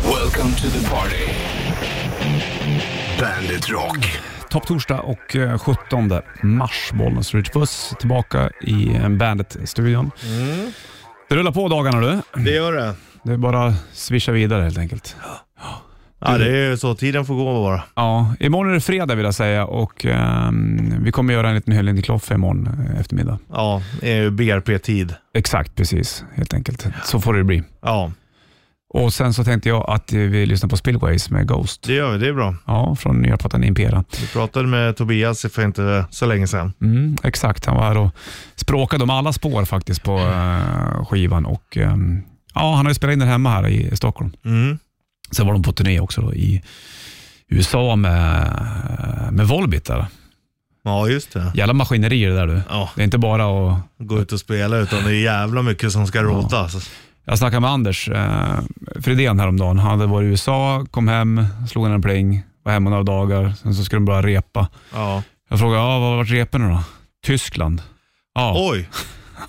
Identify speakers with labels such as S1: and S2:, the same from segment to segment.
S1: Welcome to the party. Bandit Rock.
S2: Topp torsdag och eh, 17 mars. Bollnäs Ridge Puss tillbaka i eh, Bandet-studion. Det rullar på dagarna du.
S3: Det gör det.
S2: Det är bara att swisha vidare helt enkelt.
S3: Ja, det
S2: Mm.
S3: är ju så. Tiden får gå bara.
S2: Ja, imorgon är det fredag vill jag säga och ehm, vi kommer göra en liten helg i Kloffe imorgon eh, eftermiddag.
S3: Ja, det är ju BRP-tid.
S2: Exakt, precis. Helt enkelt. Så får det bli.
S3: Ja,
S2: Och Sen så tänkte jag att eh, vi lyssnar på Spillways med Ghost.
S3: det gör vi. Det är bra.
S2: Ja, från nya plattan Impera.
S3: Vi pratade med Tobias för inte så länge sedan.
S2: Mm, exakt, han var här och språkade om alla spår faktiskt på eh, skivan. Och, ehm, ja, han har ju spelat in den hemma här i Stockholm.
S3: Mm.
S2: Sen var de på turné också då, i USA med, med Volbit. Där.
S3: Ja, just det.
S2: Jävla maskinerier det där du.
S3: Ja,
S2: Det är inte bara att...
S3: gå ut och spela utan det är jävla mycket som ska rotas.
S2: Jag snackade med Anders eh, Fridén häromdagen. Han hade varit i USA, kom hem, slog en pling, var hemma några dagar. Sen så skulle de börja repa.
S3: Ja.
S2: Jag frågade, ja, var vart repen nu då? Tyskland. Ja.
S3: Oj,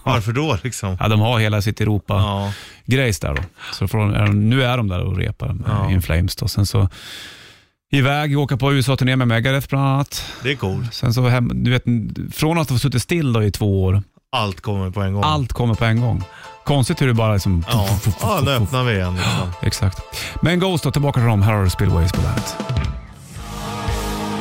S3: varför då liksom?
S2: ja, de har hela sitt Europa.
S3: Ja,
S2: grejs där. Då. Så från, är de, nu är de där och repar med
S3: Ja.
S2: In Flames. Då. Sen så iväg, åka på USA-turné med Megadeth bland annat.
S3: det är coolt.
S2: Sen så hem, du vet, från att ha suttit still då i två år,
S3: Allt kommer på en gång.
S2: allt kommer på en gång. Konstigt hur det bara liksom...
S3: Ja, ja nu öppnar vi igen. Liksom.
S2: Exakt. Men Ghost då, tillbaka till dem. Här har du Spillways på bandet.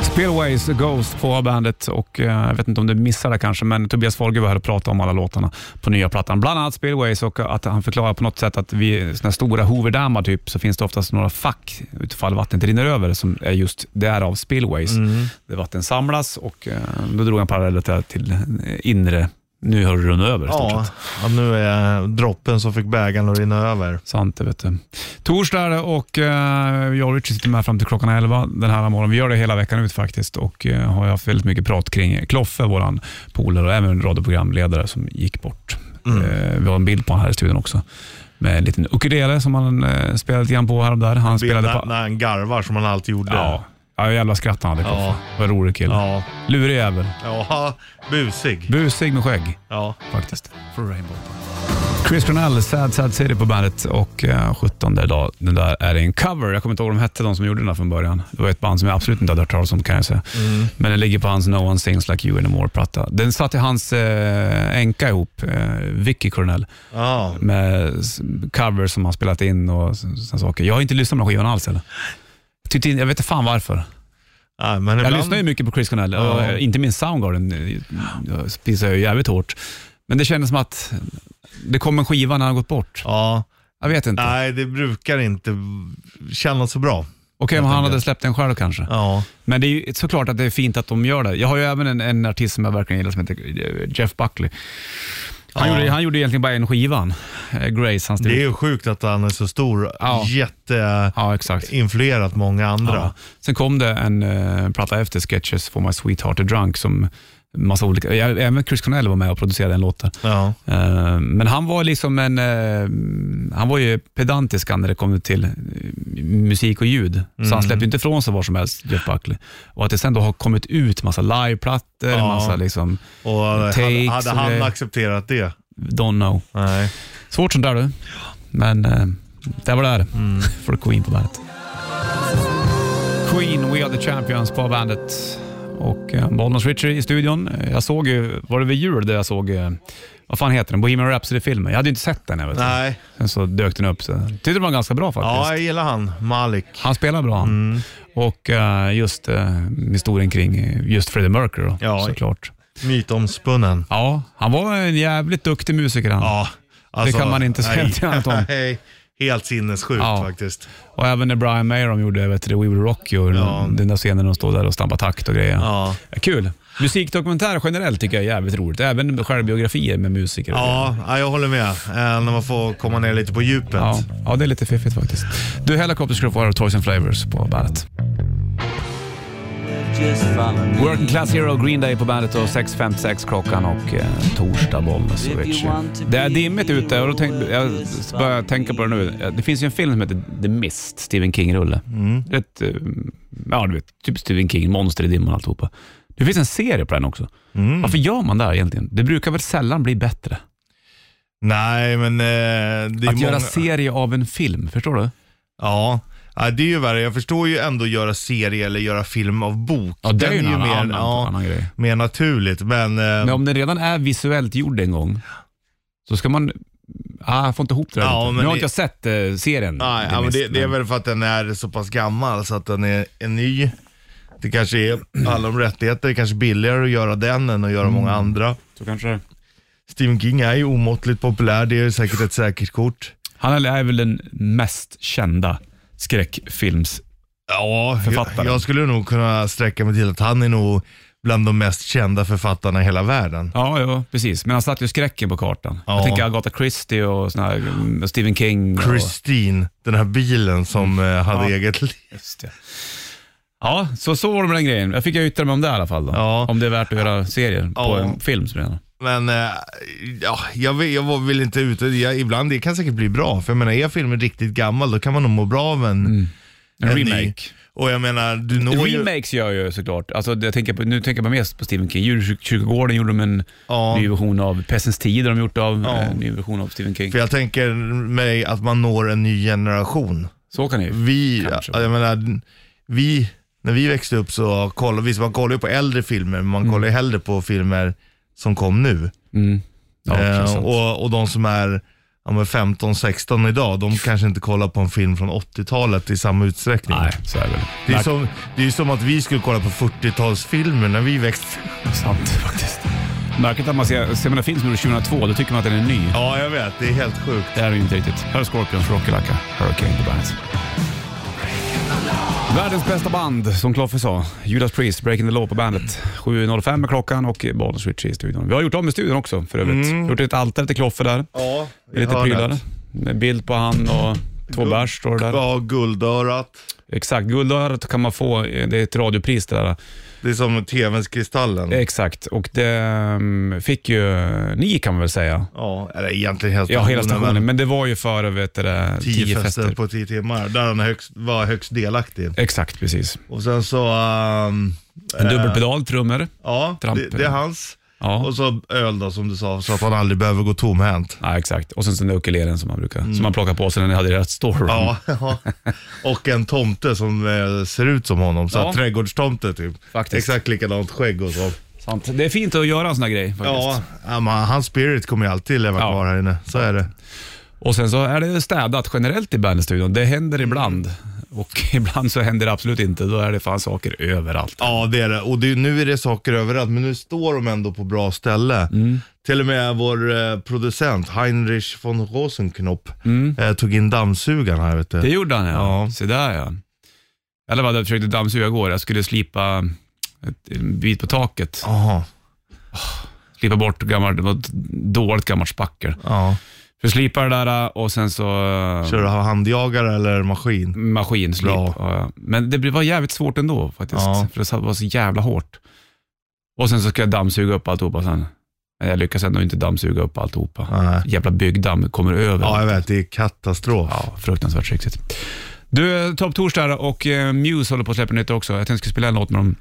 S2: Spillways, Ghost på bandet och eh, jag vet inte om du missade det kanske, men Tobias Folge var här och pratade om alla låtarna på nya plattan. Bland annat Spillways och att han förklarar på något sätt att vid såna här stora hooverdammar typ, så finns det oftast några fack utifall vattnet rinner över som är just därav spillways.
S3: Mm.
S2: Där vatten samlas och eh, då drog han paralleller till, till inre, nu har det runnit över i stort
S3: Ja,
S2: sett.
S3: ja, nu är droppen som fick bägaren att rinna över.
S2: Sant det vet du. Torsdag är det och eh, jag och Richard sitter med fram till klockan 11 den här morgonen. Vi gör det hela veckan ut faktiskt och eh, har ju haft väldigt mycket prat kring Kloffe, våran polare och även radioprogramledare som gick bort.
S3: Mm.
S2: Eh, vi har en bild på honom här i studion också. Med en liten ukulele som han eh, spelade lite grann på här och där. Han spelade
S3: När,
S2: på...
S3: när han garvar som han alltid gjorde.
S2: Ja, ja jävla skratt han hade Kloffe.
S3: Ja.
S2: Vad rolig kille.
S3: Ja,
S2: Lurig jävel.
S3: ja busig.
S2: Busig med skägg
S3: Ja.
S2: faktiskt. Från Rainbow. Chris Cornell, Sad Sad City på bandet och eh, 17 idag. Den där är en cover. Jag kommer inte ihåg vad de hette, de som gjorde den där från början. Det var ett band som jag absolut inte hade hört talas om kan jag säga. Men den ligger på hans No One Sings Like You Anymore-platta. Den satt i hans eh, änka ihop, eh, Vicky Cornell,
S3: ja.
S2: med s- covers som han spelat in och sådana saker. Jag har inte lyssnat på den här skivan alls heller. Tyckte in- Jag vet inte fan varför.
S3: Ja, men
S2: Jag
S3: ibland,
S2: lyssnar ju mycket på Chris Cornell,
S3: Ja.
S2: och inte minst Soundgarden eh, spisar jag ju jävligt hårt. Men det kändes som att det kom en skiva när han gått bort.
S3: Ja,
S2: Jag vet inte. Okej
S3: nej det brukar inte kännas så bra.
S2: om han hade släppt den själv kanske.
S3: Ja,
S2: Men det är ju såklart att det är fint att de gör det. Jag har ju även en, en artist som jag verkligen gillar som heter eh, Jeff Buckley. Han,
S3: Ja.
S2: gjorde, han gjorde egentligen bara en skiva, han. Eh, Grace, hans
S3: det är
S2: debut.
S3: ju sjukt att han är så stor.
S2: Ja.
S3: Jätteinfluerat
S2: Ja, exakt.
S3: många andra.
S2: Ja. Sen kom det en eh, platta efter Sketches for My Sweetheart Are Drunk som massa olika, ja, även Chris Cornell var med och producerade en låt där.
S3: Ja.
S2: Eh, Men han var liksom en, eh, han var ju pedantisk han när det kom till eh, musik och ljud. Så
S3: Mm.
S2: han släppte inte ifrån sig vad som helst, Jeff Buckley. Och att det sen då har kommit ut massa liveplattor,
S3: Ja.
S2: massa liksom,
S3: Och hade,
S2: Takes
S3: hade
S2: och
S3: han
S2: det-
S3: accepterat det?
S2: don't know.
S3: Nej.
S2: Svårt som där du. Men eh, det var det här.
S3: Mm.
S2: För Queen på bandet. Queen, We Are The Champions på bandet. Och eh, Bollnäs Richie i studion. Eh, Jag såg ju, var det vid jul där jag såg, eh, vad fan heter den, Bohemian Rhapsody-filmen. Jag hade ju inte sett den. Jag vet.
S3: Nej.
S2: Sen så dök den upp. Så. jag Tyckte det var ganska bra faktiskt.
S3: Ja, jag Mm. gillar han. Malik.
S2: Han spelar bra han. Och eh, just eh, historien kring eh, just Freddie Mercury då,
S3: Ja.
S2: såklart.
S3: Mytomspunnen.
S2: Ja, han var en jävligt duktig musiker han.
S3: Ja. alltså,
S2: kan man inte säga
S3: nej.
S2: till annat om.
S3: Nej. Helt sinnessjukt
S2: Ja.
S3: faktiskt.
S2: Och även när Brian May de gjorde vet du, We Will Rock You,
S3: Ja.
S2: den där scenen när de står där och stampar takt och grejer.
S3: Ja.
S2: Kul. Musikdokumentärer generellt tycker jag är jävligt roligt. Även självbiografier med musiker. och grejer.
S3: Ja, ja, jag håller med. Äh, när man får komma ner lite på djupet.
S2: Ja, ja, det är lite fiffigt faktiskt. Du, Helicopters Group var Toys and Flavors på bandet. Working Class Hero, Green Day på bandet och 6.56 klockan och eh, torsdag, Bollnäs och Ritchie. Det är dimmigt ute och då tänk, jag börjar tänka på det nu. Det finns ju en film som heter The Mist, Stephen King-rulle. Ett, eh, ja du vet, typ Stephen King, monster i dimman och alltihopa. Det finns en serie på den också.
S3: Mm.
S2: Varför gör man det här egentligen? Det brukar väl sällan bli bättre?
S3: Nej, men eh, det är
S2: Att göra
S3: många...
S2: serie av en film, förstår du?
S3: Ja, Ja, det är ju värre. Jag förstår ju ändå göra serie eller göra film av bok.
S2: Ja, det är ju en annan-
S3: mer,
S2: annan-
S3: ja,
S2: annan grej.
S3: mer naturligt. Men, eh,
S2: Men om den redan är visuellt gjord en gång, så ska man... Ah, jag får inte ihop det där
S3: Ja,
S2: riktigt.
S3: men
S2: Nu har inte
S3: det-
S2: jag sett eh, serien.
S3: nej,
S2: The
S3: ja, men
S2: Mist,
S3: det, det är
S2: men-
S3: väl för att den är så pass gammal så att den är, är ny. Det kanske är alla om rättigheter. Det kanske är billigare att göra den än att göra
S2: Mm.
S3: många andra.
S2: Så kanske...
S3: Stephen King är ju omåttligt populär. Det är ju säkert ett säkert kort.
S2: Han är väl den mest kända skräckfilms...
S3: Ja, jag,
S2: Författaren.
S3: jag skulle nog kunna sträcka mig till att han är nog bland de mest kända författarna i hela världen.
S2: Ja, ja, precis. Men han satte ju skräcken på kartan.
S3: Ja.
S2: Jag tänker Agatha Christie och såna här, mm, Stephen King. och-
S3: Christine, den här bilen som eh, hade
S2: Mm. Ja.
S3: eget liv.
S2: Just det. Ja, så så var det med den grejen. Jag fick jag yttra mig om det i alla fall. Då.
S3: Ja.
S2: Om det är värt att göra serier på
S3: Ja.
S2: en film. Som jag menar.
S3: Men eh, ja, jag, vill, jag vill inte ut jag, ibland det kan säkert bli bra. För jag menar, är filmen riktigt gammal då kan man nog må bra av en,
S2: Mm. en
S3: ny.
S2: remake.
S3: Och jag menar, du når ju...
S2: Remakes gör jag ju såklart. Alltså, det jag tänker på, nu tänker jag mest på Stephen King. Djurkyrkogården gjorde de en
S3: Ja.
S2: ny version av. Pestens tid har de gjort av
S3: Ja.
S2: en ny version av Stephen King.
S3: För jag tänker mig att man når en ny generation.
S2: Så kan det ju.
S3: Vi,
S2: Kanske.
S3: jag menar, vi, när vi växte upp så kollade visst, man kollar ju på äldre filmer, men man kollar ju hellre på filmer som kom nu.
S2: Mm. Ja,
S3: eh,
S2: precis.
S3: och, och de som är ja, men 15-16 idag, de kanske inte kollar på en film från 80-talet i samma utsträckning.
S2: Nej, så är det väl.
S3: Det är ju
S2: Nej,
S3: som, det är ju som att vi skulle kolla på 40-talsfilmer när vi växte
S2: sant faktiskt. Märkligt att man ser, ser man en film som gjordes 2002, då tycker man att den är ny.
S3: Ja, jag vet. Det är helt sjukt.
S2: Det här är ju inte riktigt. Här är Scorpions Rockylacka, Hurricane på bandet. Världens bästa band, som Kloffe sa. Judas Priest, Breaking the Law på bandet. 7.05 är klockan och Bonus Richie i studion. Vi har gjort om i studion också för övrigt.
S3: Mm.
S2: Gjort ett altare till Kloffe där.
S3: Ja,
S2: Med lite prylar. Med bild på han och två
S3: Guld-
S2: bärs står det där.
S3: Ja, guldörat.
S2: Exakt, guldörat kan man få. Det är ett radiopris det där.
S3: Det är som tvns Kristallen.
S2: Exakt, och det mm, fick ju ni kan man väl säga.
S3: Ja, eller egentligen helt
S2: Ja, hela stationen. Men det var ju före vet du, det,
S3: Tio, fester, på tio timmar, där han högst, var högst delaktig.
S2: Exakt, precis.
S3: Och sen så... ehm,
S2: En dubbelpedal, trummor.
S3: ja,
S2: Tramp.
S3: det, det är hans.
S2: Ja.
S3: Och så öl då, som du sa, så att han aldrig behöver gå tomhänt.
S2: ja, exakt. Och sen så den där ukulelen som man brukar, som man plockar på sig när ni hade ert storeroom.
S3: Mm. Ja, ja. och en tomte som eh, ser ut som honom. Så
S2: Ja.
S3: här trädgårdstomte typ.
S2: Faktiskt.
S3: Exakt likadant skägg och så.
S2: Sant. Det är fint att göra en sån här grej faktiskt.
S3: Ja, ja, men hans spirit kommer ju alltid leva
S2: Ja.
S3: kvar här inne. Så är det.
S2: Och sen så är det städat generellt i bandstudion. Det händer ibland.
S3: Mm.
S2: Och ibland så händer det absolut inte. Då är det fan saker överallt.
S3: Ja, det är det. Och det, är- nu är det saker överallt, men nu står de ändå på bra ställe. Till och med vår eh, producent Heinrich von Rosenknopp eh, tog in dammsugaren här vet du.
S2: Det gjorde han ja.
S3: Ja.
S2: Se där ja. Eller vad, jag försökte dammsuga igår. Jag skulle slipa ett- en bit på taket.
S3: Jaha,
S2: Slipa bort gammalt, det var ett dåligt gammalt spackel.
S3: ja.
S2: Så jag slipade det där och sen så...
S3: Kör du handjagare eller maskin?
S2: maskinslip.
S3: Bra.
S2: Ja. Men det blev- var jävligt svårt ändå faktiskt.
S3: Ja.
S2: För det var så jävla hårt. Och sen så ska jag dammsuga upp alltihopa sen. Men jag lyckas ändå inte dammsuga upp alltihopa.
S3: Nej.
S2: Jävla byggdamm kommer över.
S3: Ja, jag vet. Det är katastrof.
S2: Ja, fruktansvärt riktigt. Du, Topp Torsdag här och eh, Muse håller på att släppa nytt också. Jag tänkte jag skulle spela en låt med dem.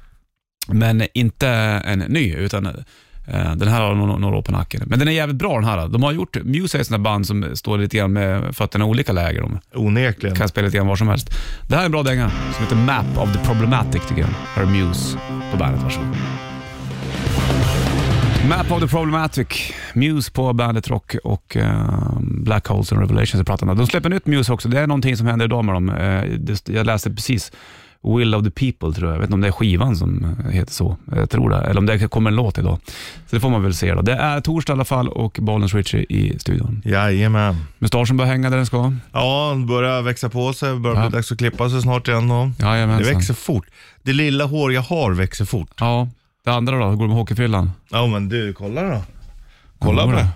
S2: Men inte en ny, utan eh, den här har några, några år på nacken. Men den är jävligt bra den här. De har gjort, Muse är ett sånt där band som står lite grann med fötterna i olika läger. De
S3: Onekligen.
S2: kan spela lite grann var som helst. Det här är en bra dänga som heter Map of the Problematic tycker jag. Här är Muse på bandet, varsågod. Map of the Problematic, Muse på Bandet Rock och eh, Black Holes and Revelations är pratarna. De släpper nytt Muse också, det är någonting som händer idag med dem. Eh, det, jag läste precis Will of the People tror jag. Jag vet inte om det är skivan som heter så. Jag tror det. Eller om det kommer en låt idag. Så det får man väl se då. Det är torsdag i alla fall och Bollens Richie i studion.
S3: Jajamän.
S2: Mustaschen börjar hänga där den ska.
S3: Ja, den börjar växa på sig. Börjar bli
S2: Ja. Alltså.
S3: dags att klippa sig snart igen då. Det
S2: Jajamensan.
S3: växer fort. Det lilla hår jag har växer fort.
S2: Ja, det andra då? Hur går det med hockeyfrillan?
S3: Ja, men du, kolla då. Kolla
S2: Ja,
S3: på
S2: då.
S3: det.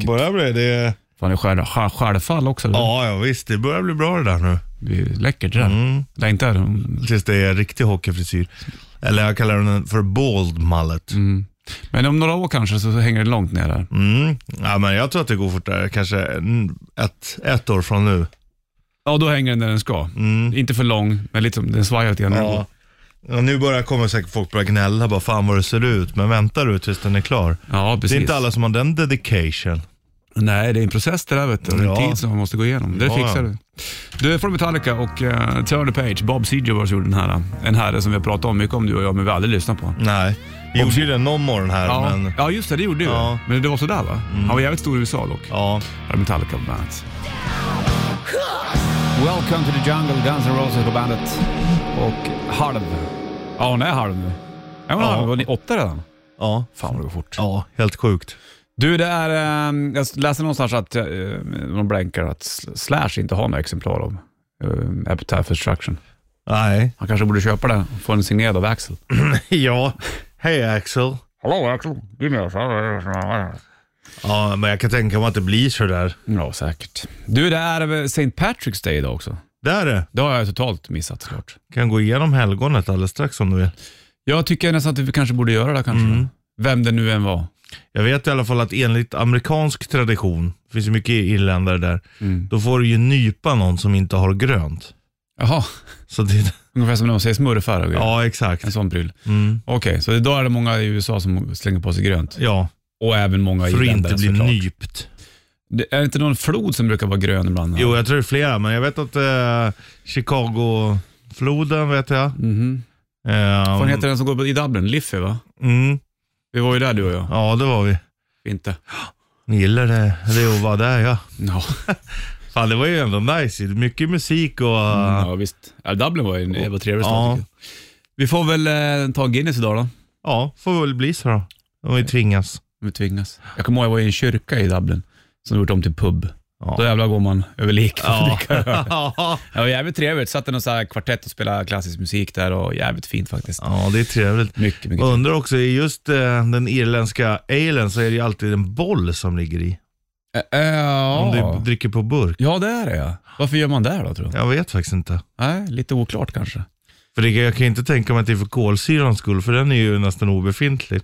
S3: Det börjar bli det.
S2: Fan, det är skär, skär, skärfall också. eller?
S3: Ja, ja visst. Det börjar bli bra det där nu.
S2: Det är läckert det där.
S3: Mm.
S2: Längtar.
S3: Tills det är riktig hockeyfrisyr. Eller jag kallar den för bald mullet.
S2: Mm. Men om några år kanske så så hänger det långt ner där.
S3: Mm. Ja, men jag tror att det går fortare. Kanske en- ett, ett år från nu.
S2: Ja, då hänger den där den ska.
S3: Mm.
S2: Inte för lång, men lite, som- den svajar lite grann.
S3: Ja. Mm. Ja, nu börjar kommer säkert folk börja gnälla. Bara fan vad det ser ut. Men vänta du tills den är klar.
S2: ja,
S3: Det
S2: precis.
S3: är inte alla som har den dedication.
S2: Nej, det är en process det där vet du. Det är en
S3: Ja.
S2: tid som man måste gå igenom. Det
S3: Ja,
S2: fixar
S3: ja.
S2: du. Du, från Metallica och uh, Turn the Page. Bob Seger var som gjorde den här. eh, En herre som vi har pratat om mycket om du och jag, men vi har aldrig lyssnat på.
S3: Nej. Vi gjorde ju den någon morgon här,
S2: Ja,
S3: men...
S2: ja just det, det gjorde du.
S3: Ja. Mm.
S2: Men det var sådär va? Han var jävligt stor i USA dock.
S3: Ja.
S2: Här är Metallica på bandet. Welcome to the jungle, Guns N' Roses på bandet. Och halv. Ja, hon är halv nu. Är hon
S3: Ja.
S2: halv? Var ni åtta redan?
S3: Ja.
S2: Fan vad det går fort.
S3: Ja, helt sjukt.
S2: Du, det är, eh, jag läste någonstans att eh, de blänkar att Sl- Slash inte har några exemplar av eh, Appetite for Destruction.
S3: Nej.
S2: Han kanske borde köpa det och få den signerad av Axel.
S3: ja. Hej Axel.
S2: Hallå Axel, give me a
S3: Ja, men jag kan tänka mig att det blir så där.
S2: Ja, säkert. Du, det är eh, St. Patrick's Day idag också.
S3: Där är det.
S2: Det har jag totalt missat såklart.
S3: Kan gå igenom helgonet alldeles strax om du vill.
S2: Jag tycker nästan att vi kanske borde göra det kanske.
S3: Mm.
S2: Vem det nu än var.
S3: Jag vet i alla fall att enligt amerikansk tradition, det finns ju mycket irländare där, då får du ju nypa någon som inte har grönt.
S2: Jaha,
S3: Så det,
S2: ungefär som när de säger smurfar och ja.
S3: ja, exakt.
S2: En sån pryl.
S3: Mm.
S2: Okej, så idag är det många i USA som slänger på sig grönt.
S3: Ja,
S2: Och även många i
S3: för att inte bli
S2: såklart.
S3: nypt.
S2: Det är det inte någon flod som brukar vara grön ibland?
S3: Jo, jag tror det är flera, men jag vet att eh, Chicago-floden vet jag.
S2: Mhm.
S3: Eh,
S2: Vad fan heter den som går i Dublin? Liffey va?
S3: Mm,
S2: Vi var ju där du och jag.
S3: ja, det var vi.
S2: Inte.
S3: Ni gillar det, det att vara där ja.
S2: Ja,
S3: Fan, det var ju ändå nice. Mycket musik och... eh,
S2: ja visst. Ja, Dublin var ju en jävla trevlig
S3: Ja.
S2: stad tycker jag. Vi får väl eh, ta Guinness idag då.
S3: Ja, får väl bli så då. Om vi tvingas.
S2: Om vi tvingas. Jag kommer ihåg jag var i en kyrka i Dublin som gjort om till pub.
S3: Ja.
S2: Då jävlar går man över lik för att dricka öl.
S3: ja,
S2: Det var jävligt trevligt. Satt i någon så här kvartett och spelade klassisk musik där och jävligt fint faktiskt.
S3: det är trevligt.
S2: Mycket, mycket.
S3: Och undrar också, i just eh, den irländska alen så är det ju alltid en boll som ligger i.
S2: Äh, äh,
S3: Om
S2: ja.
S3: du dricker på burk.
S2: ja, det är det ja. Varför gör man det då tror du?
S3: Jag vet faktiskt inte.
S2: Nej, lite oklart kanske.
S3: För det, jag kan ju inte tänka mig att det är för kolsyrans skull, för den är ju nästan obefintlig.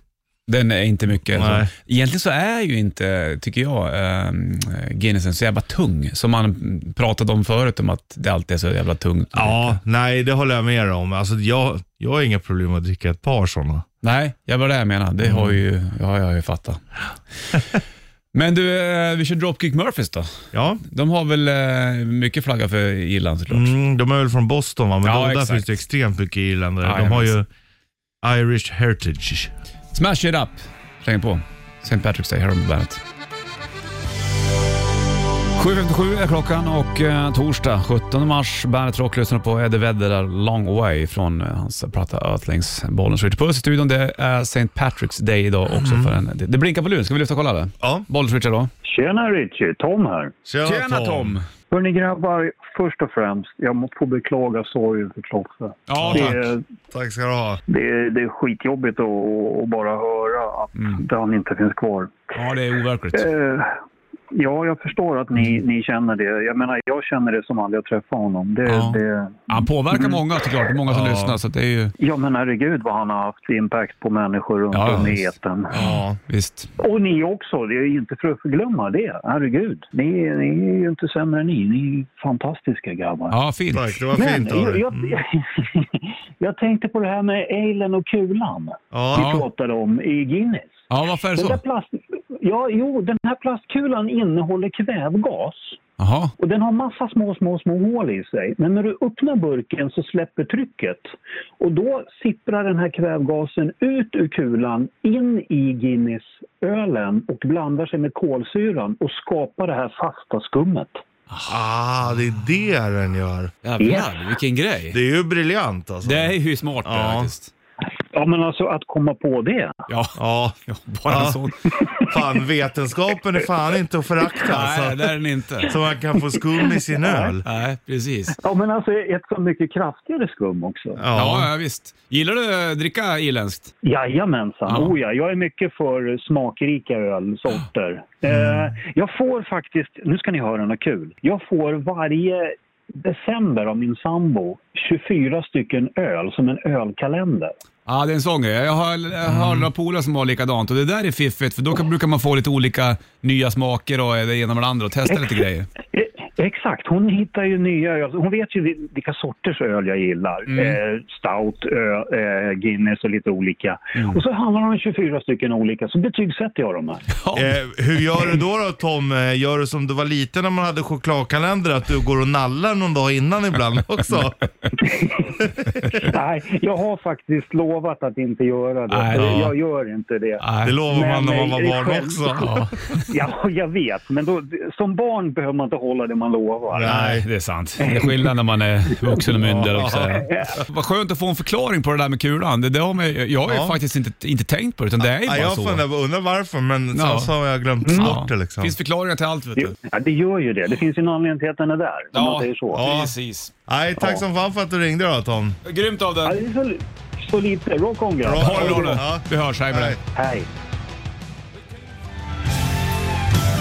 S2: Den är inte mycket.
S3: Nej.
S2: Så. Egentligen så är ju inte, tycker jag, ehm, Guinnessen så jävla tung. Som man pratade om förut, om att det alltid är så jävla tungt.
S3: Ja, nej det håller jag med dig om. Alltså, jag, jag har inga problem att dricka ett par sådana.
S2: Nej, jag var det jag menar. Det
S3: Mm.
S2: har ju, ja, jag har ju fattat. Men du, eh, vi kör Dropkick Murphys då.
S3: Ja,
S2: De har väl eh, mycket flagga för Irland såklart.
S3: mm, de är väl från Boston va? Men
S2: Ja,
S3: då, där
S2: exakt.
S3: finns det extremt mycket irländare.
S2: Ja,
S3: de har ju
S2: jajamän.
S3: Irish heritage.
S2: Smash it up. Släng på. St. Patrick's Day här om bandet. 7.57 är klockan och eh, torsdag 17 mars. Bandet Rock lyssnar på Eddie Vedder där, Long Way från eh, hans platta Ötlängs Bollens Ritch Puss i studion. Det är St. Patrick's Day idag också. För en, det, det blinkar på luren. Ska vi lyfta och kolla det?
S3: Ja.
S2: Bollens Ritch då.
S1: Tjena Richie, Tom här. Hörni grabbar, först och främst, jag må- får beklaga sorgen för Kloffe.
S2: Ja,
S1: Det
S2: tack.
S1: är,
S3: Tack ska du ha.
S1: det, är, det är skitjobbigt att, att- att bara höra att
S2: Mm.
S1: han inte finns kvar.
S2: Ja, det är overkligt.
S1: Eh, ja, jag förstår att ni,
S2: Mm.
S1: ni känner det. Jag menar, jag känner det som aldrig jag träffade honom. Det,
S2: Ja.
S1: det,
S2: Han påverkar många såklart. Det är många som
S3: Ja.
S2: lyssnar så att det är ju...
S1: ja, men herregud vad han har haft impact på människor runt
S2: Ja,
S1: om i
S2: visst.
S1: etern.
S3: Ja.
S2: Visst.
S1: Och ni också, det är ju inte för att förglömma det. Herregud, ni, ni är ju inte sämre än ni. Ni är fantastiska grabbar.
S2: Ja, fint.
S3: Tack, det var
S1: Men
S3: fint av
S1: jag,
S3: dig.
S1: jag,
S3: Mm.
S1: jag tänkte på det här med alen och kulan
S3: Ja,
S1: vi pratade om i Guinness.
S2: Ja, varför är det
S1: Den där
S2: så?
S1: plast, ja, jo, den här plastkulan innehåller kvävgas
S2: Jaha.
S1: och den har massa små, små, små hål i sig. Men när du öppnar burken så släpper trycket och då sipprar den här kvävgasen ut ur kulan in i Guinness-ölen och blandar sig med kolsyran och skapar det här fasta skummet.
S3: ah, det är det den gör.
S2: Jävlar, vilken grej.
S3: Det är ju briljant alltså.
S2: Det är ju smart det
S3: Ja.
S2: faktiskt.
S1: Ja, men alltså att komma på det.
S2: Ja,
S3: Ja,
S2: ja bara en
S3: Ja.
S2: sån.
S3: fan vetenskapen är fan inte att förakta
S2: Nej,
S3: alltså.
S2: det är den inte.
S3: Så man kan få skum i sin öl.
S2: Nej, precis. Ja,
S1: Ja, men alltså ett så mycket kraftigare skum också.
S3: Ja,
S2: ja. visst. Gillar du eh, dricka irländskt?
S1: Jajamensan,
S2: Ja.
S1: oh ja. Jag är mycket för smakrika ölsorter. Eh, jag får faktiskt, nu ska ni höra något kul. Jag får varje december av min sambo 24 stycken öl som en ölkalender.
S2: Ja, det är en sån grej. Jag har, jag har några polare som har likadant och det där är fiffigt för då kan, brukar man få lite olika nya smaker och det ena med det andra och testa lite grejer.
S1: Eh, Exakt, hon hittar ju nya öl. Hon vet ju vil- vilka sorters öl jag gillar. Eh, stout, ö, eh, Guinness och lite olika. Och så handlar de om 24 stycken olika, så betygsätter jag dem här.
S3: Eh, hur gör du då, då Tom? Eh, Gör du som du var liten när man hade chokladkalender, att du går och nallar någon dag innan ibland också?
S1: Nej, jag har faktiskt lovat att inte göra det.
S2: Nej,
S1: jag
S2: ja.
S1: gör inte det.
S3: Det lovar man när man var
S1: Nej,
S3: barn
S1: skämt.
S3: också.
S2: Ja.
S1: Ja, jag vet, men då, som barn behöver man inte hålla det man lovar.
S2: Nej, det är sant. Det är skillnad när man är vuxen och myndig också. Vad skönt att få en förklaring på det där med kulan. Det, det har man, jag har ju
S3: Ja.
S2: faktiskt inte, inte tänkt på det, utan det är ju
S3: Ja,
S2: bara
S3: jag
S2: så.
S3: funderar, undrar varför, men
S2: Ja. Mm.
S3: sen så har jag glömt bort det liksom.
S2: finns förklaringar till allt vet
S1: Jo,
S2: du.
S1: Ja, det gör ju det. Det finns ju en anledning till att den är där, om man säger så.
S3: Ja.
S2: precis.
S3: Nej, tack som fan för att du ringde då Tom.
S2: Grymt av
S1: Ja,
S2: dig.
S1: det är så, så lite. Rock on, grabbar.
S3: Rock
S2: Ha det bra nu.
S3: Ja.
S2: Vi hörs, hej med dig.
S3: Hej.
S1: Hej.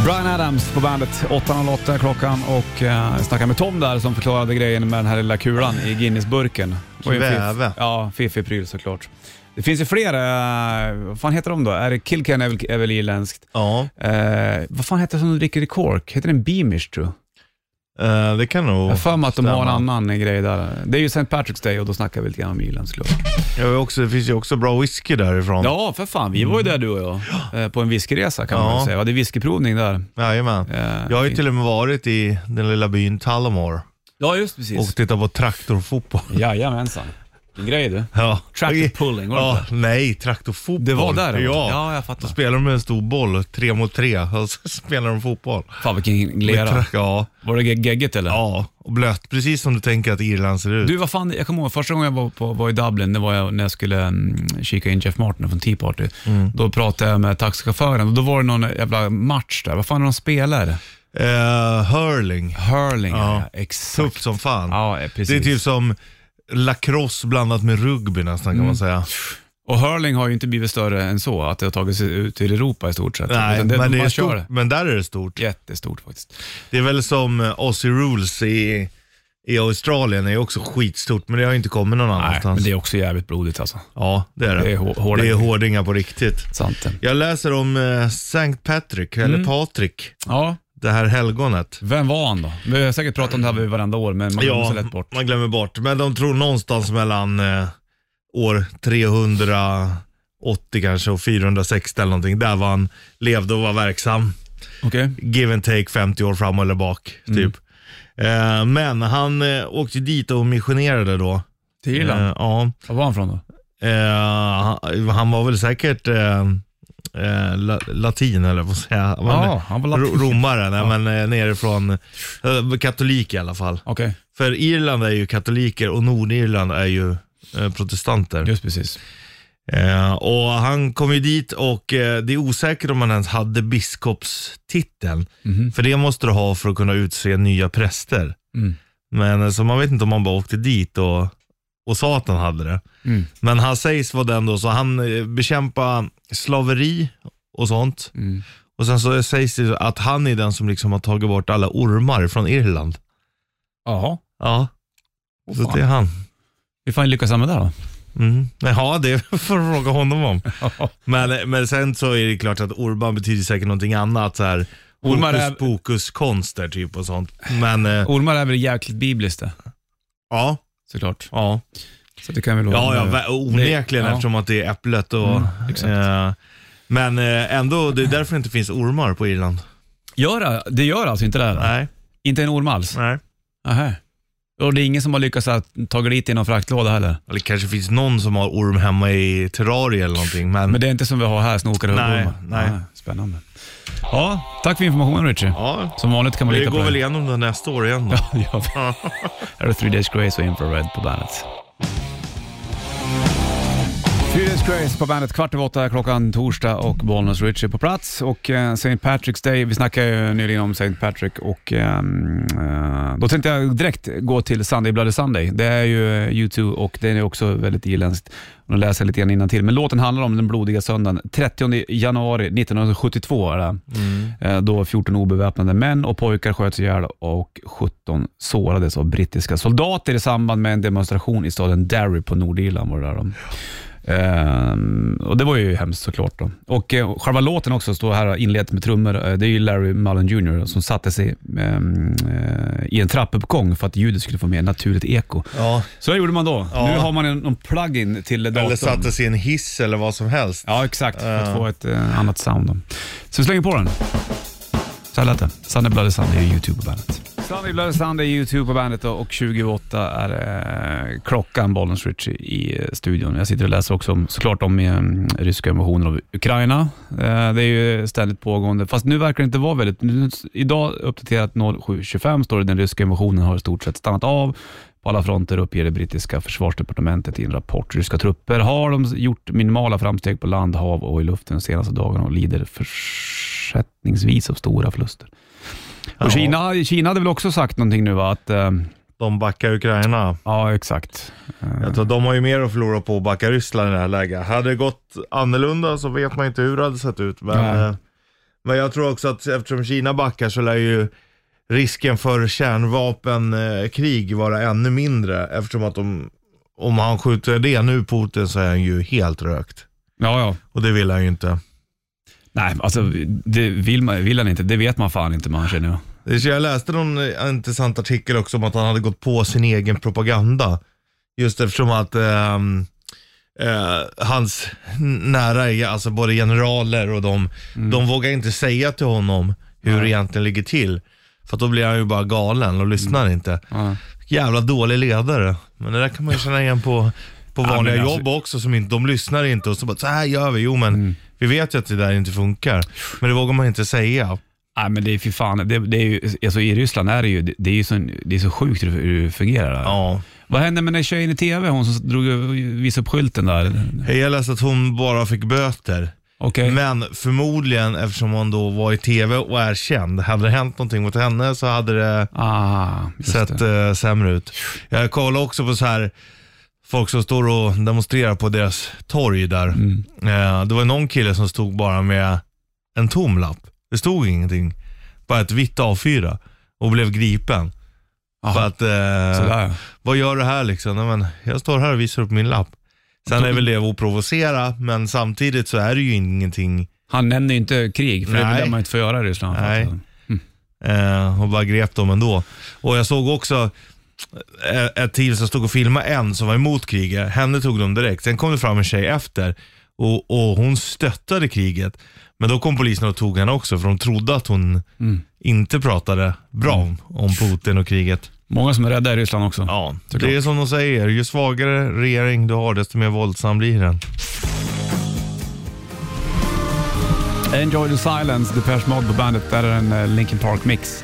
S2: Brian Adams på bandet, 8.08 är klockan och uh, snackade med Tom där som förklarade grejen med den här lilla kulan i Guinnessburken. Och en fiff-
S3: Kväve.
S2: Ja, fiffig pryl såklart. Det finns ju flera, eh, vad fan heter de då? Är det Kilken är väl, är väl irländskt?
S3: Ja,
S2: Eh, vad fan heter det som de dricker i Cork? Heter den Beamish tror jag?
S3: eh, det kan nog
S2: Jag har för mig att de har en
S3: stämma.
S2: annan grej där. Det är ju St. Patrick's Day och då snackar vi lite grann om Irland såklart.
S3: Jag är också, det finns ju också bra whisky därifrån.
S2: Ja, för fan. Vi var ju där du och jag. eh, På en whiskyresa kan man
S3: Ja.
S2: väl säga. Vi hade whiskyprovning där.
S3: Jajamän.
S2: Eh,
S3: Jag har ju
S2: fint.
S3: till och med varit i den lilla byn Tullamore
S2: Ja, just Mm. precis.
S3: och tittat på traktorfotboll.
S2: Jajamensan. Vilken grej du.
S3: Ja.
S2: Tractor pulling, var det
S3: ja,
S2: inte?
S3: Nej, traktorfotboll.
S2: Det var där?
S3: Ja.
S2: eller?
S3: ja.
S2: ja jag
S3: Då
S2: fattar.
S3: spelar de med en stor boll, tre mot tre, och så spelar de fotboll.
S2: Fan vilken
S3: Med
S2: lera.
S3: tra- Ja,
S2: Var det ge- gegget eller?
S3: ja, och blött. Precis som du tänker att Irland ser ut.
S2: Du, vad fan, jag kommer ihåg första gången jag var, på, var i Dublin, det var jag, när jag skulle mm, kika in Jeff Martin från Tea Party.
S3: Mm.
S2: Då pratade jag med taxichauffören och då var det någon jävla match där. Vad fan är de spelar?
S3: Eh, hurling,
S2: Hurling, ja.
S3: Ja.
S2: ja exakt.
S3: tufft som fan.
S2: Ja, eh, precis.
S3: det är typ som lacrosse blandat med rugby nästan kan
S2: Mm.
S3: man säga.
S2: Och hurling har ju inte blivit större än så, att det har tagit sig ut till Europa i stort sett.
S3: Nej,
S2: Utan det,
S3: men, det
S2: man kör
S3: är stort,
S2: det.
S3: men där är det stort.
S2: Jättestort faktiskt.
S3: Det är väl som eh, Aussie Rules i, i Australien, är också skitstort, men det har ju inte kommit någon
S2: Nej,
S3: annanstans.
S2: men det är också jävligt blodigt alltså.
S3: Ja, det är det.
S2: Det är hår- hårdingar.
S3: Det är hårdingar på riktigt.
S2: Sant det.
S3: Jag läser om eh, Sankt Patrick,
S2: Mm.
S3: eller Patrik,
S2: Ja,
S3: det här helgonet.
S2: vem var han då? Vi har säkert pratat om det här vid varenda år, men man glömmer så lätt bort.
S3: man glömmer bort. Men de tror någonstans mellan eh, år 380 kanske och 460 eller någonting. Där var han levde och var verksam.
S2: Okej.
S3: give and take 50 år fram eller bak.
S2: Mm.
S3: Typ. Eh, men han eh, åkte dit och missionerade då.
S2: Till Irland?
S3: Eh, ja.
S2: Var var han från då?
S3: Eh, han, han var väl säkert eh, eh, la, latin eller vad säger jag? Men,
S2: Ja, han var latin.
S3: ro- Romare, nej, men eh, nerifrån. Eh, katolik i alla fall.
S2: Okej,
S3: För Irland är ju katoliker och Nordirland är ju eh, protestanter.
S2: just precis.
S3: Eh, och Han kom ju dit och eh, det är osäkert om han ens hade biskopstiteln.
S2: Mhm.
S3: För det måste du ha för att kunna utse nya präster.
S2: Mm.
S3: Men eh, så man vet inte om han bara åkte dit och, och sa att han hade det.
S2: Mm.
S3: Men han sägs vara den då, så han eh, bekämpar slaveri och sånt.
S2: Mm.
S3: Och sen så sägs det att han är den som liksom har tagit bort alla ormar från Irland.
S2: Jaha.
S3: Ja,
S2: Åh,
S3: så
S2: fan.
S3: det är han.
S2: Hur fan lyckas han med det då?
S3: Mm. Ja, det får du fråga honom om. Men, men sen så är det klart att orban betyder säkert någonting annat. Så här,
S2: Ormar är-
S3: hokus pokus-konster typ och sånt. Men eh,
S2: Ormar är väl jäkligt bibliskt det,
S3: ja,
S2: såklart.
S3: ja.
S2: Så det kan väl vara...
S3: Ja, ja, va- onekligen
S2: Det- ja.
S3: eftersom att det är äpplet och...
S2: Mm, exakt.
S3: eh, men eh, ändå, det är därför det inte finns ormar på Irland.
S2: Gör det, det gör alltså inte det? Här, då?
S3: Nej,
S2: Inte en orm alls?
S3: nej.
S2: Aha. Och det är ingen som har lyckats att ta dit i någon fraktlåda heller?
S3: Eller kanske finns någon som har orm hemma i terrarier eller någonting. Men,
S2: Men det är inte som vi har här, snokare och
S3: Mm. Nej,
S2: huggormar?
S3: nej.
S2: Ah, Spännande. Ja, tack för informationen Richie.
S3: ja,
S2: Som vanligt kan man
S3: vi
S2: lita på
S3: går
S2: dig.
S3: väl igenom det nästa år igen då.
S2: Ja, det gör vi. Här är Three Days Grace och Infrared på bandet. Three Days Grace på bandet, kvart över åtta är klockan torsdag och Bollnäs Richie på plats. Och eh, St. Patrick's Day, vi snackade ju nyligen om St. Patrick och ehm, eh, då tänkte jag direkt gå till Sunday Bloody Sunday. Det är ju eh, U2 och det är också väldigt irländskt. Nu läser jag lite grann till. men låten handlar om den blodiga söndagen. 30 januari 1972 är det. Eh, då 14 obeväpnade män och pojkar sköts ihjäl och 17 sårades av brittiska soldater i samband med en demonstration i staden Derry på Nordirland. Var det där de. Ehm, och det var ju hemskt såklart. Då. Och eh, själva låten också, står här inlett med trummor, eh, det är ju Larry Mullen Jr som satte sig ehm, eh, i en trappuppgång för att ljudet skulle få mer naturligt eko.
S3: Ja.
S2: Så det gjorde man då.
S3: Ja.
S2: Nu har man en, någon plugin till datorn.
S3: Eller sattes i en hiss eller vad som helst.
S2: Ja, exakt. För att få ett eh, annat sound. Då. Så vi slänger på den. Så här lät det. Sunday Bloody Sunday är YouTube på bandet. Sunday Bloody Sunday är YouTube på bandet då, och 28 är eh, klockan, Bollens Rich i eh, studion. Jag sitter och läser också om, såklart om eh, ryska invasionen av Ukraina. Eh, det är ju ständigt pågående, fast nu verkar det inte vara väldigt... Nu, idag uppdaterat 07.25 står det den ryska invasionen har i stort sett stannat av. På alla fronter uppger det brittiska försvarsdepartementet i en rapport. Ryska trupper har de gjort minimala framsteg på land, hav och i luften de senaste dagarna och lider försättningsvis av stora förluster.
S3: Ja.
S2: Och Kina, Kina hade väl också sagt någonting nu va? Att, eh,
S3: De backar Ukraina.
S2: ja, exakt. Eh,
S3: Jag tror de har ju mer att förlora på att backa Ryssland i det här läget. Hade det gått annorlunda så vet man inte hur det hade sett ut. Men,
S2: Nej.
S3: eh, men jag tror också att eftersom Kina backar så lär ju risken för kärnvapenkrig vara ännu mindre. Eftersom att de, om han skjuter det nu Putin så är han ju helt rökt.
S2: Ja, ja.
S3: Och det vill han ju inte.
S2: Nej, alltså det vill, man, vill han inte. Det vet man fan inte man känner jag.
S3: Det- så Jag läste någon eh, intressant artikel också om att han hade gått på sin egen propaganda. Just eftersom att ehm, eh, hans n- nära, alltså både generaler och de,
S2: Mm.
S3: de vågar inte säga till honom hur det egentligen ligger till. För att då blir han ju bara galen och lyssnar
S2: Mm.
S3: inte.
S2: Ja.
S3: Jävla dålig ledare. Men det där kan man ju känna igen på, på
S2: men
S3: vanliga
S2: alltså- Mm.
S3: jobb också. Som inte, de lyssnar inte och så bara, så här gör vi. Jo men vi vet ju att det där inte funkar. Men det vågar man inte säga.
S2: Nej men det är fy fan, det, det är ju, alltså, i Ryssland är det ju, det, det är ju så, det är så sjukt hur hur det fungerar. där.
S3: Ja.
S2: Vad hände med den tjejen i TV, hon som drog, visade upp skylten där?
S3: Jag läste att hon bara fick böter.
S2: Okej.
S3: Men förmodligen, eftersom hon då var i TV och är känd, hade det hänt någonting mot henne så hade det
S2: Ah, just
S3: sett
S2: det.
S3: eh, sämre ut. Jag kollade också på så här folk som står och demonstrerar på deras torg där.
S2: Mm.
S3: Eh, det var någon kille som stod bara med en tom lapp. Det stod ingenting. Bara ett vitt A4 och blev gripen.
S2: Aha,
S3: För att, eh,
S2: sådär.
S3: vad gör du här liksom? Nej, men jag står här och visar upp min lapp. Sen är väl det att provocera, men samtidigt så är det ju ingenting
S2: Han nämner ju inte krig, för det är
S3: Nej.
S2: väl det man inte får göra i Ryssland.
S3: Nej.
S2: Alltså.
S3: eh, och bara grep dem ändå. Och jag såg också eh, ett team som stod och filmade en som var emot kriget. Henne tog de direkt. Sen kom det fram en tjej efter och, och hon stöttade kriget. Men då kom polisen och tog henne också för de trodde att hon inte pratade bra om, om Putin och kriget.
S2: Många som är rädda i Ryssland också.
S3: Ja,
S2: såklart.
S3: det är som de säger, ju svagare regering du har desto mer våldsam blir den.
S2: Enjoy the silence, Depeche Mode på bandet. Där är en eh, Linkin Park-mix.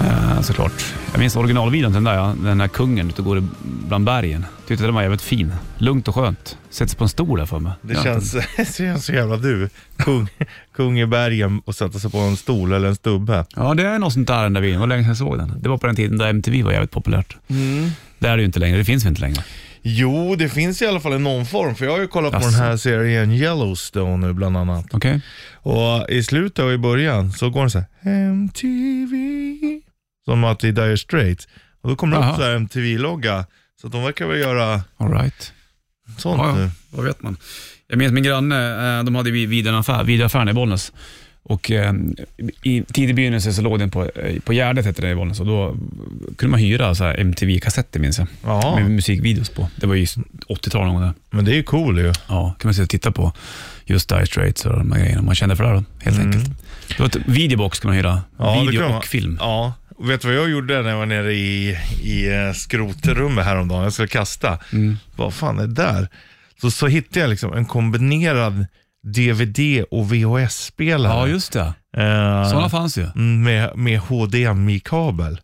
S2: Eh, såklart. Jag minns originalvideon till den där, ja. den där kungen ute och går i- bland bergen. Tyckte den var jävligt fin. Lugnt och skönt. Sätter sig på en stol där för mig.
S3: Det
S2: Ja,
S3: känns, det känns så jävla du. Kung, kung i bergen och sätta sig på en stol eller en stubbe.
S2: Ja, det är något sånt där den där videon. Det var länge sedan jag såg den. Det var på den tiden då MTV var jävligt populärt.
S3: Mm.
S2: Det är det ju inte längre. Det finns väl inte längre.
S3: Jo, det finns i alla fall i någon form. För jag har ju kollat på
S2: Jaså.
S3: den här serien Yellowstone nu bland annat.
S2: Okej?
S3: Och i slutet och i början så går den så här MTV. Som att det är Dire Straits. Och då kommer det
S2: Jaha.
S3: upp så här MTV-logga. Så att de verkar väl göra
S2: All right.
S3: sånt
S2: Ja, ja.
S3: nu.
S2: Vad vet man? Jag minns min granne, eh, de hade ju vid en affär, vid affären i Bollnäs. Och eh, i tidig begynnelse så låg den på, eh, på Gärdet, hette det i Bollnäs, och då kunde man hyra så här MTV-kassetter minns jag.
S3: Ja,
S2: Med musikvideos på. Det var ju 80-tal någon gång där.
S3: men det är ju cool ju.
S2: Ja, kunde man sitta och titta på just Dire Straits och de här grejerna. Man kände för det här då, helt enkelt. Det var ett videobox kunde man hyra.
S3: Mm. Ja, det
S2: Video
S3: kan man.
S2: och film.
S3: Ja, och vet du vad jag gjorde när jag var nere i, i eh, skrotrummet häromdagen? Jag skulle kasta.
S2: Mm.
S3: Vad fan är det där? Så, så hittade jag liksom en kombinerad DVD och VHS-spelare.
S2: Ja, just det.
S3: Eh,
S2: Sådana fanns ju.
S3: mm, med, med HDMI-kabel.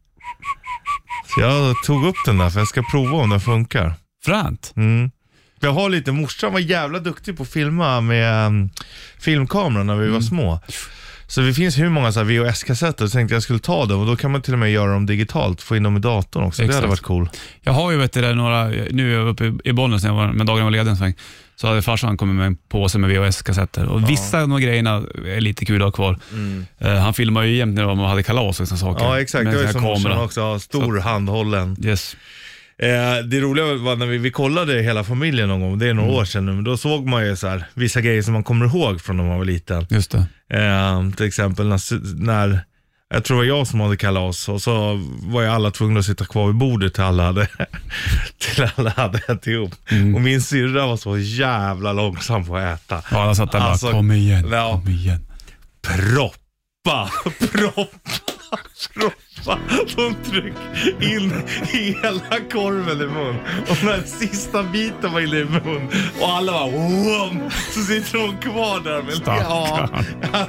S3: Så jag tog upp den där för jag ska prova om den funkar.
S2: Fränt.
S3: Mm. Jag har lite, morsan var jävla duktig på att filma med um, filmkameran när vi
S2: Mm.
S3: var små. Så det finns hur många så här VHS-kassetter, så tänkte jag skulle ta dem och då kan man till och med göra dem digitalt, få in dem i datorn också. Det
S2: Exakt.
S3: hade varit cool.
S2: Jag har ju vet du, det, några, nu är jag uppe i- i Bollnäs, när jag var- men dagarna var lediga en sväng, så hade farsan kommit med en påse med VHS-kassetter. Och Vissa av de grejerna är lite kul att ha kvar. Eh, han filmade ju jämt när man hade kalas och sådana saker.
S3: Mm. Ja exakt,
S2: Med
S3: det var ju
S2: sån
S3: som
S2: här kamera.
S3: morsan också, ja, stor handhållen.
S2: Yes.
S3: Eh, det roliga var när vi, vi kollade hela familjen någon gång, det är några
S2: Mm.
S3: år sedan nu, men då såg man ju så här, vissa grejer som man kommer ihåg från när man var liten.
S2: Just det.
S3: Eh, till exempel när, s- när, jag tror det var jag som hade kalas och så var ju alla tvungna att sitta kvar vid bordet till alla hade, till alla hade ätit ihop. Och min syrra var så jävla långsam på att äta.
S2: Ja, alla satt där
S3: Alltså,
S2: bara, kom igen,
S3: ja.
S2: kom igen.
S3: proppa, proppa, proppa. De tryck in hela korven i mun. Och när sista biten var inne i mun och alla bara wow, så sitter de kvar där med
S2: Stackarn.
S3: Ja.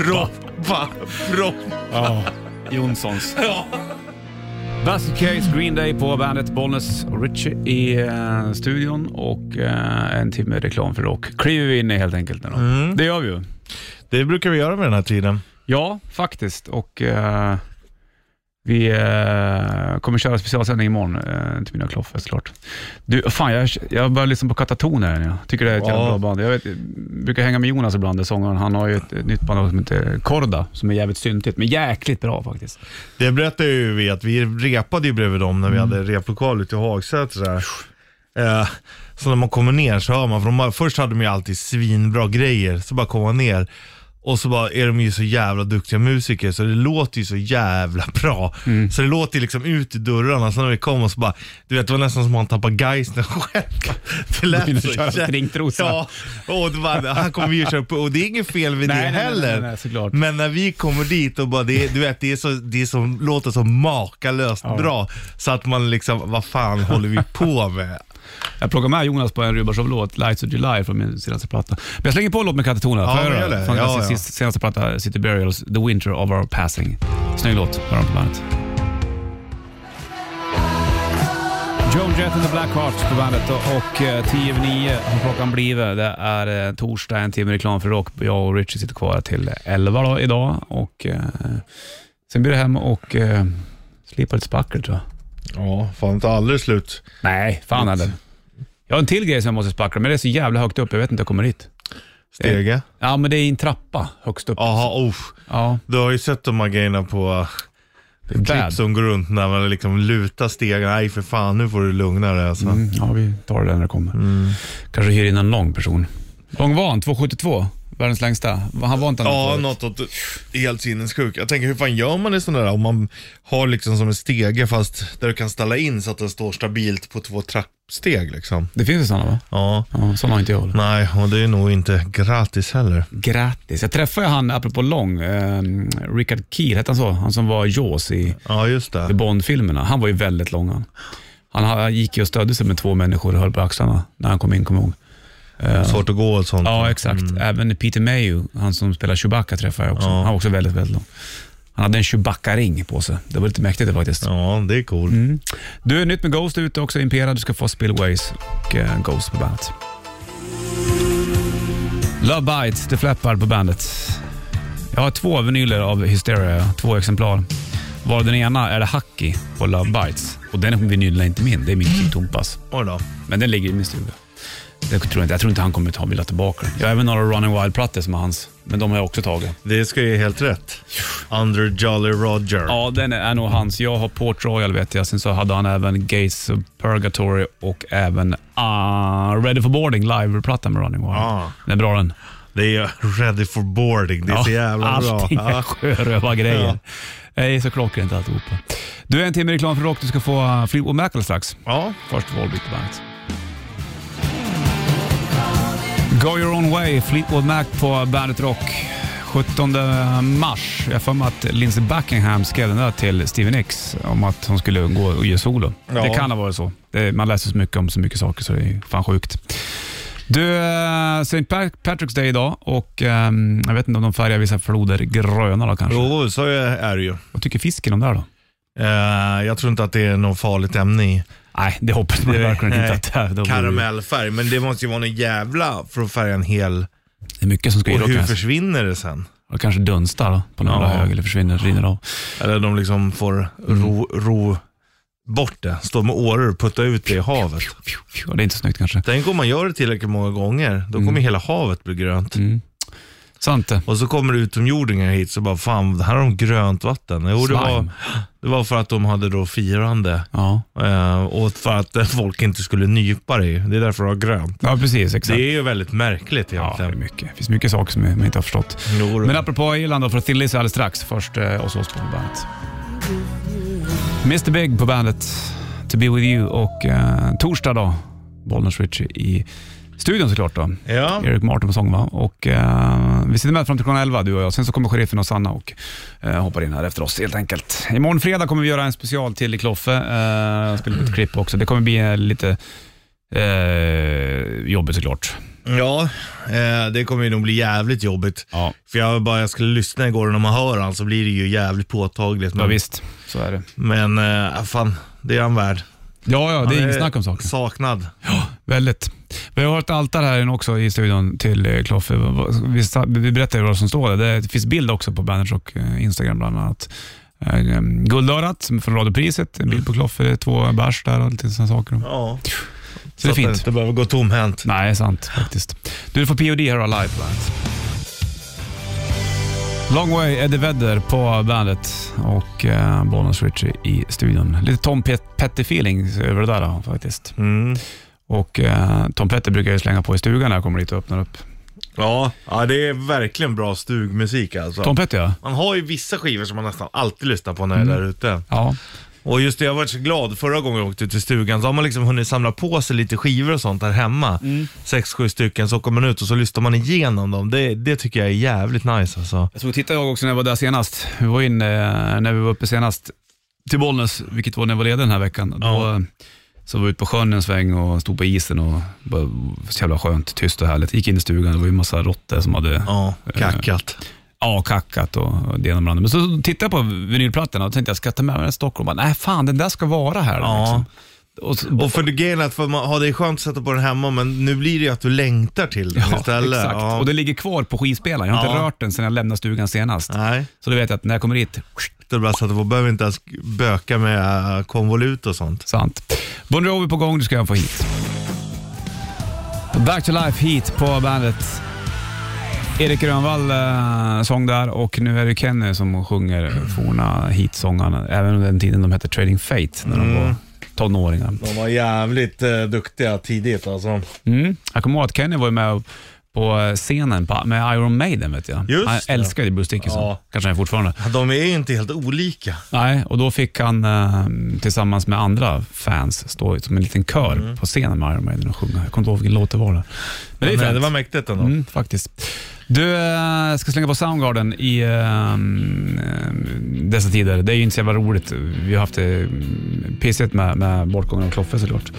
S3: Proppa, proppa.
S2: Ja, Jonssons.
S3: Ja.
S2: Basket Case, Green Day på bandet Bollnäs och Richie i eh, studion och eh, en timme reklam för rock kliver vi in i helt enkelt. Nu då.
S3: Mm.
S2: Det gör vi ju.
S3: Det brukar vi göra med den här tiden.
S2: Ja, faktiskt. Och eh, vi eh, kommer köra specialsändning imorgon eh, till mina kloffer såklart. Du, fan jag, jag börjar lyssna på Katatoon här nu. Jag tycker det är ett jävla
S3: Ja.
S2: bra band. Jag vet, jag brukar hänga med Jonas ibland, det är sångaren. Han har ju ett, ett nytt band som heter Korda, som är jävligt syntigt, men jäkligt bra faktiskt.
S3: Det berättade ju vi att vi repade ju bredvid dem när vi hade replokal ute i Hagsätra. där. Eh, så när man kommer ner så hör man, för de har, först hade de ju alltid svinbra grejer, så bara kommer man ner och så bara är de ju så jävla duktiga musiker så det låter ju så jävla bra. Så det låter ju liksom ut i dörrarna, så när vi kom och så bara, du vet det var nästan som att man tappade geisten själv. Det
S2: Innan
S3: lät
S2: du kör
S3: så
S2: Trinktrosa.
S3: Ja, och det bara, här kommer vi ju köra på, och det är inget fel vid det
S2: Nej, nej, nej,
S3: heller.
S2: nej, nej, såklart.
S3: Men när vi kommer dit och bara, det, är- du vet, det, är så, det är så, låter så makalöst bra. Så att man liksom, vad fan håller vi på med?
S2: Jag plockade med Jonas på en Rubashov-låt, Lights of July, från min senaste platta. Men jag slänger på en låt med Katatoon här.
S3: Ja,
S2: Får jag
S3: men
S2: göra
S3: gör det.
S2: Från
S3: Ja,
S2: deras
S3: ja.
S2: sist- senaste platta, City Burials, The Winter of Our Passing. Snygg låt, hör de på bandet. Joan Jett and the Blackhearts på bandet och, och eh, 10 över 9 har klockan blivit. Det är eh, torsdag, en timme reklam för rock. Jag och Richie sitter kvar till 11 då, idag och eh, sen blir det hem och eh, slipa lite spackel tror jag.
S3: Ja, fan tar aldrig slut.
S2: Nej, fan heller. Jag har en till grej som jag måste spackla, men det är så jävla högt upp. Jag vet inte hur jag kommer dit.
S3: Stege.
S2: Ja, men det är en trappa högst upp.
S3: Jaha, oh.
S2: Ja,
S3: Du har ju sett de här grejerna på
S2: det är bad.
S3: klipp som går runt när man liksom lutar stegen. Nej för fan, nu får du lugna dig alltså.
S2: Mm, ja, vi tar det när det kommer. Kanske hyr in en lång person. Lång var han, 2,72. Världens längsta. Han var inte han
S3: Ja,
S2: förut.
S3: något åt helt sinnessjuk. Jag tänker hur fan gör man i sådana där om man har liksom som en stege fast där du kan ställa in så att den står stabilt på två trappsteg liksom.
S2: Det finns ju sådana va?
S3: Ja.
S2: Ja, sådana har inte jag.
S3: Nej, och det är nog inte gratis heller.
S2: Grattis. Jag träffade ju han, apropå lång, eh, Richard Kiel, hette han så? Han som var Jaws i
S3: Ja, just det.
S2: The Bond-filmerna. Han var ju väldigt lång han. Han, han gick ju och stödde sig med två människor och höll på axlarna när han kom in, kommer jag ihåg.
S3: Svårt att gå och sånt.
S2: Ja, exakt. Även Peter Mayhew, han som spelar Chewbacca, träffade jag också. Han var också väldigt, väldigt lång. Han hade en Chewbacca-ring på sig. Det var lite mäktigt det faktiskt.
S3: Ja, det är coolt.
S2: Mm. Du, nytt med Ghost ute också, Impera. Du ska få Spillways och eh, Ghost på bandet. Love Bites, The Flappar på bandet. Jag har två vinyler av Hysteria, två exemplar. Var den ena är det Hacky på Love Bites. Och den vinylen är inte min, det är min Kim Tumpas.
S3: Oj då.
S2: Men den ligger i min stuga. Jag tror inte, jag tror inte han kommer ta vilja tillbaka den. Jag har även några Running Wild-plattor som är hans, men de har jag också tagit.
S3: Det ska ju helt rätt. Under Jolly Roger.
S2: Ja, den är nog hans. Jag har Port Royal vet jag. Sen så hade han även Gates of Purgatory och även ah, Ready for Boarding live-plattan med Running Wild.
S3: Ja.
S2: Den är bra den.
S3: Det är ju ready for boarding. Det är så jävla bra.
S2: allting är
S3: Ja.
S2: sjörövargrejer. Det är så klockrent alltihopa. Du, en timme reklam för rock. Du ska få eh, Fleetwood Mac alldeles strax.
S3: ja.
S2: Först Volbeat på bandet. Go your own way, Fleetwood Mac på Bandet Rock. 17 mars. Jag har för mig att Lindsey Buckingham skrev den där till Steven Nicks om att hon skulle gå och ge solo.
S3: Ja.
S2: Det kan ha varit så. Det, man läser så mycket om så mycket saker så det är fan sjukt. Du, eh, St. Pat- Patrick's Day idag och ehm, jag vet inte om de färgar vissa floder gröna då kanske.
S3: Jo, så är är det ju.
S2: Vad tycker fisken om det här då?
S3: Eh, jag tror inte att det är något farligt ämne i.
S2: Nej, det hoppas man verkligen inte
S3: nej.
S2: att det är. Då blir det-
S3: Karamellfärg, men det måste ju vara någon jävla för att färga en hel.
S2: Det är mycket som ska i
S3: Och
S2: då
S3: hur
S2: kanske.
S3: försvinner det sen?
S2: Och kanske dunstar då, på några
S3: Ja.
S2: hög eller försvinner, rinner av.
S3: Eller de liksom får
S2: Mm.
S3: ro, ro bort det. Stå med åror och putta ut det i havet.
S2: Ja, det är inte så snyggt kanske. Mm.
S3: Tänk om man gör det tillräckligt många gånger, då kommer hela havet bli grönt.
S2: Sant det.
S3: Och så kommer det utomjordingar hit så bara, fan, här har de grönt vatten. Jo, det, var,
S2: Slime.
S3: det var för att de hade då firande
S2: Ja.
S3: eh, och för att eh, folk inte skulle nypa dig. Det är därför det var grönt.
S2: ja, precis.
S3: Det
S2: Exakt.
S3: är ju väldigt märkligt
S2: ja, det är
S3: egentligen.
S2: mycket. Det finns mycket saker som man inte har förstått.
S3: Jo, då.
S2: Men apropå Irland då, för Thin Lizzy alldeles strax. Först eh, Ozzy Osbourne på bandet. Mr Big på bandet, To Be With You och eh, torsdag då, Bollnäs Ritchie i studion såklart då.
S3: Ja.
S2: Eric Martin på sång va? Och, eh, vi sitter med fram till klockan 11 du och jag. Sen så kommer sheriffen och Sanna och eh, hoppar in här efter oss helt enkelt. Imorgon fredag kommer vi göra en special till i Kloffe. Eh, spela upp ett klipp också. Det kommer bli eh, lite eh, jobbigt såklart.
S3: Ja, eh, det kommer ju nog bli jävligt jobbigt.
S2: Ja.
S3: För jag bara, jag skulle lyssna igår och när man hör han så blir det ju jävligt påtagligt.
S2: Ja,
S3: Men,
S2: visst, så är det.
S3: men eh, fan, det är han värd.
S2: Ja, ja, det
S3: Han
S2: är inget snack om saken.
S3: Saknad.
S2: Väldigt. Vi har ett altare här inne också i studion till eh, Kloffe. Vi, sa- vi berättar ju vad som står där. Det finns bild också på Banners och eh, Instagram bland annat. Eh, eh, Guldörat som är från Radiopriset, en bild på Kloffe, det är två bärs där och lite sådana saker.
S3: Ja.
S2: Så det är
S3: att den
S2: fint.
S3: inte behöver gå tomhänt.
S2: Nej, sant faktiskt. Du, du får POD här live på bandet. Long Way Eddie Vedder på bandet och eh, Bonus Richie i studion. Lite Tom Pet- Petty-feeling över det där då, faktiskt.
S3: Mm.
S2: Och eh, Tom Petty brukar jag slänga på i stugan när jag kommer dit och öppnar upp.
S3: Ja. ja, det är verkligen bra stugmusik alltså.
S2: Tom Petty ja.
S3: Man har ju vissa skivor som man nästan alltid lyssnar på när jag är
S2: Mm.
S3: där ute.
S2: Ja,
S3: Och just det, jag var så glad. Förra gången jag åkte ut till stugan så har man liksom hunnit samla på sig lite skivor och sånt här hemma. Sex, sju stycken. Så kommer man ut och så lyssnar man igenom dem. Det, det tycker jag är jävligt nice alltså.
S2: jag såg tittade jag också när jag var där senast. Vi var in eh, när vi var uppe senast till Bollnäs, vilket var när jag var ledig den här veckan. Då,
S3: Ja.
S2: eh, så var vi ute på sjön en sväng och stod på isen och bara, så jävla skönt, tyst och härligt. Gick in i stugan, det var ju en massa råttor som hade
S3: Ja, kackat.
S2: avkackat och och det ena med det andra. Men så tittade jag på vinylplattorna och tänkte jag ska ta med mig den till Stockholm. Och Bara, Nej fan, den där ska vara här.
S3: Ja.
S2: Liksom. Och så,
S3: Eh, Och för det grejen är att för man, ja, det är skönt att sätta på den hemma, men nu blir det ju att du längtar till den
S2: Ja,
S3: istället.
S2: exakt.
S3: Ja.
S2: Och den ligger kvar på skivspelaren. Jag har inte
S3: Ja.
S2: rört den sedan jag lämnade stugan senast.
S3: Nej,
S2: Så du vet jag att när jag kommer hit,
S3: det är bara så att man behöver inte ens böka med äh, konvolut och sånt.
S2: sant. Bon Jovi på gång, du ska jag få hit. Back to life hit på bandet. Erik Grönvall eh, sång där och nu är det Kenny som sjunger forna hitsångarna. Även under den tiden de hette Trading Fate när
S3: Mm.
S2: de var tonåringar.
S3: De var jävligt eh, duktiga tidigt alltså.
S2: Mm. Jag kommer ihåg att Kenny var ju med på scenen på, med Iron Maiden. Vet jag.
S3: Just
S2: han
S3: det.
S2: älskade ju Bruce Dickinson.
S3: Ja.
S2: Kanske han fortfarande.
S3: De är ju inte helt olika.
S2: Nej, och då fick han eh, tillsammans med andra fans stå som en liten kör på scenen med Iron Maiden och sjunga. Jag kommer inte ihåg vilken låt det var. Där. Mm. Men det är
S3: Men, eh,
S2: fränt.
S3: det var mäktigt ändå.
S2: Mm, faktiskt. Du eh, ska slänga på Soundgarden i eh, eh, dessa tider. Det är ju inte så jävla roligt. Vi har haft det mm, pissigt med, med bortgången av Kloffe såklart.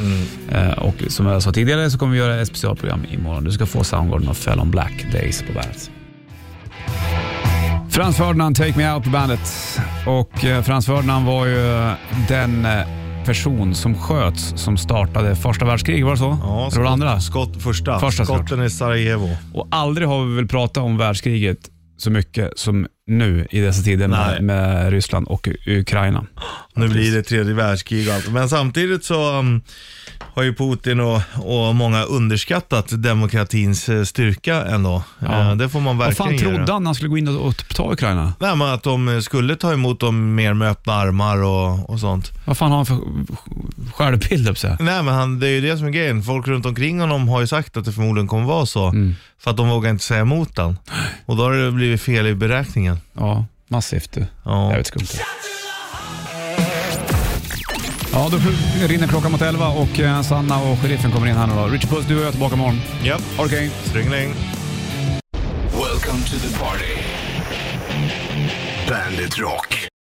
S2: Eh, och som jag sa tidigare så kommer vi göra ett specialprogram imorgon. Du ska få Soundgarden och Fell on Black Days på bandet. Frans Ferdinand, Take Me Out på bandet. Och eh, Frans Ferdinand var ju den eh, person som sköts som startade första världskriget, var det så?
S3: Ja,
S2: Eller var det andra?
S3: Skott, första.
S2: Första
S3: Skotten i Sarajevo.
S2: Och aldrig har vi väl pratat om världskriget så mycket som nu i dessa tider med,
S3: Nej.
S2: med Ryssland och U- Ukraina.
S3: Nu blir det tredje världskrig och allt. Men samtidigt så um, har ju Putin och, och många underskattat demokratins eh, styrka ändå.
S2: Ja.
S3: Eh, Det får man
S2: Vad
S3: verkligen
S2: fan
S3: ge
S2: trodde
S3: det.
S2: han när han skulle gå in och, och ta Ukraina?
S3: Nej, men att de eh, skulle ta emot dem mer med öppna armar och, och sånt.
S2: Vad fan har han för sj- självbild upp sig?
S3: Nej, men han, det är ju det som är grejen. Folk runt omkring honom har ju sagt att det förmodligen kommer vara så.
S2: Mm.
S3: För att de vågar inte säga emot den. Och då har det blivit fel i beräkningen.
S2: Ja, massivt du.
S3: Ja.
S2: Jävligt skumt. Ja, då rinner klockan mot 11 och eh, Sanna och sheriffen kommer in här nu då. Richard Puss, du och jag är tillbaka imorgon.
S3: Japp,
S2: Ha det okej.
S3: stringling.
S4: Welcome to the party. Bandit Rock.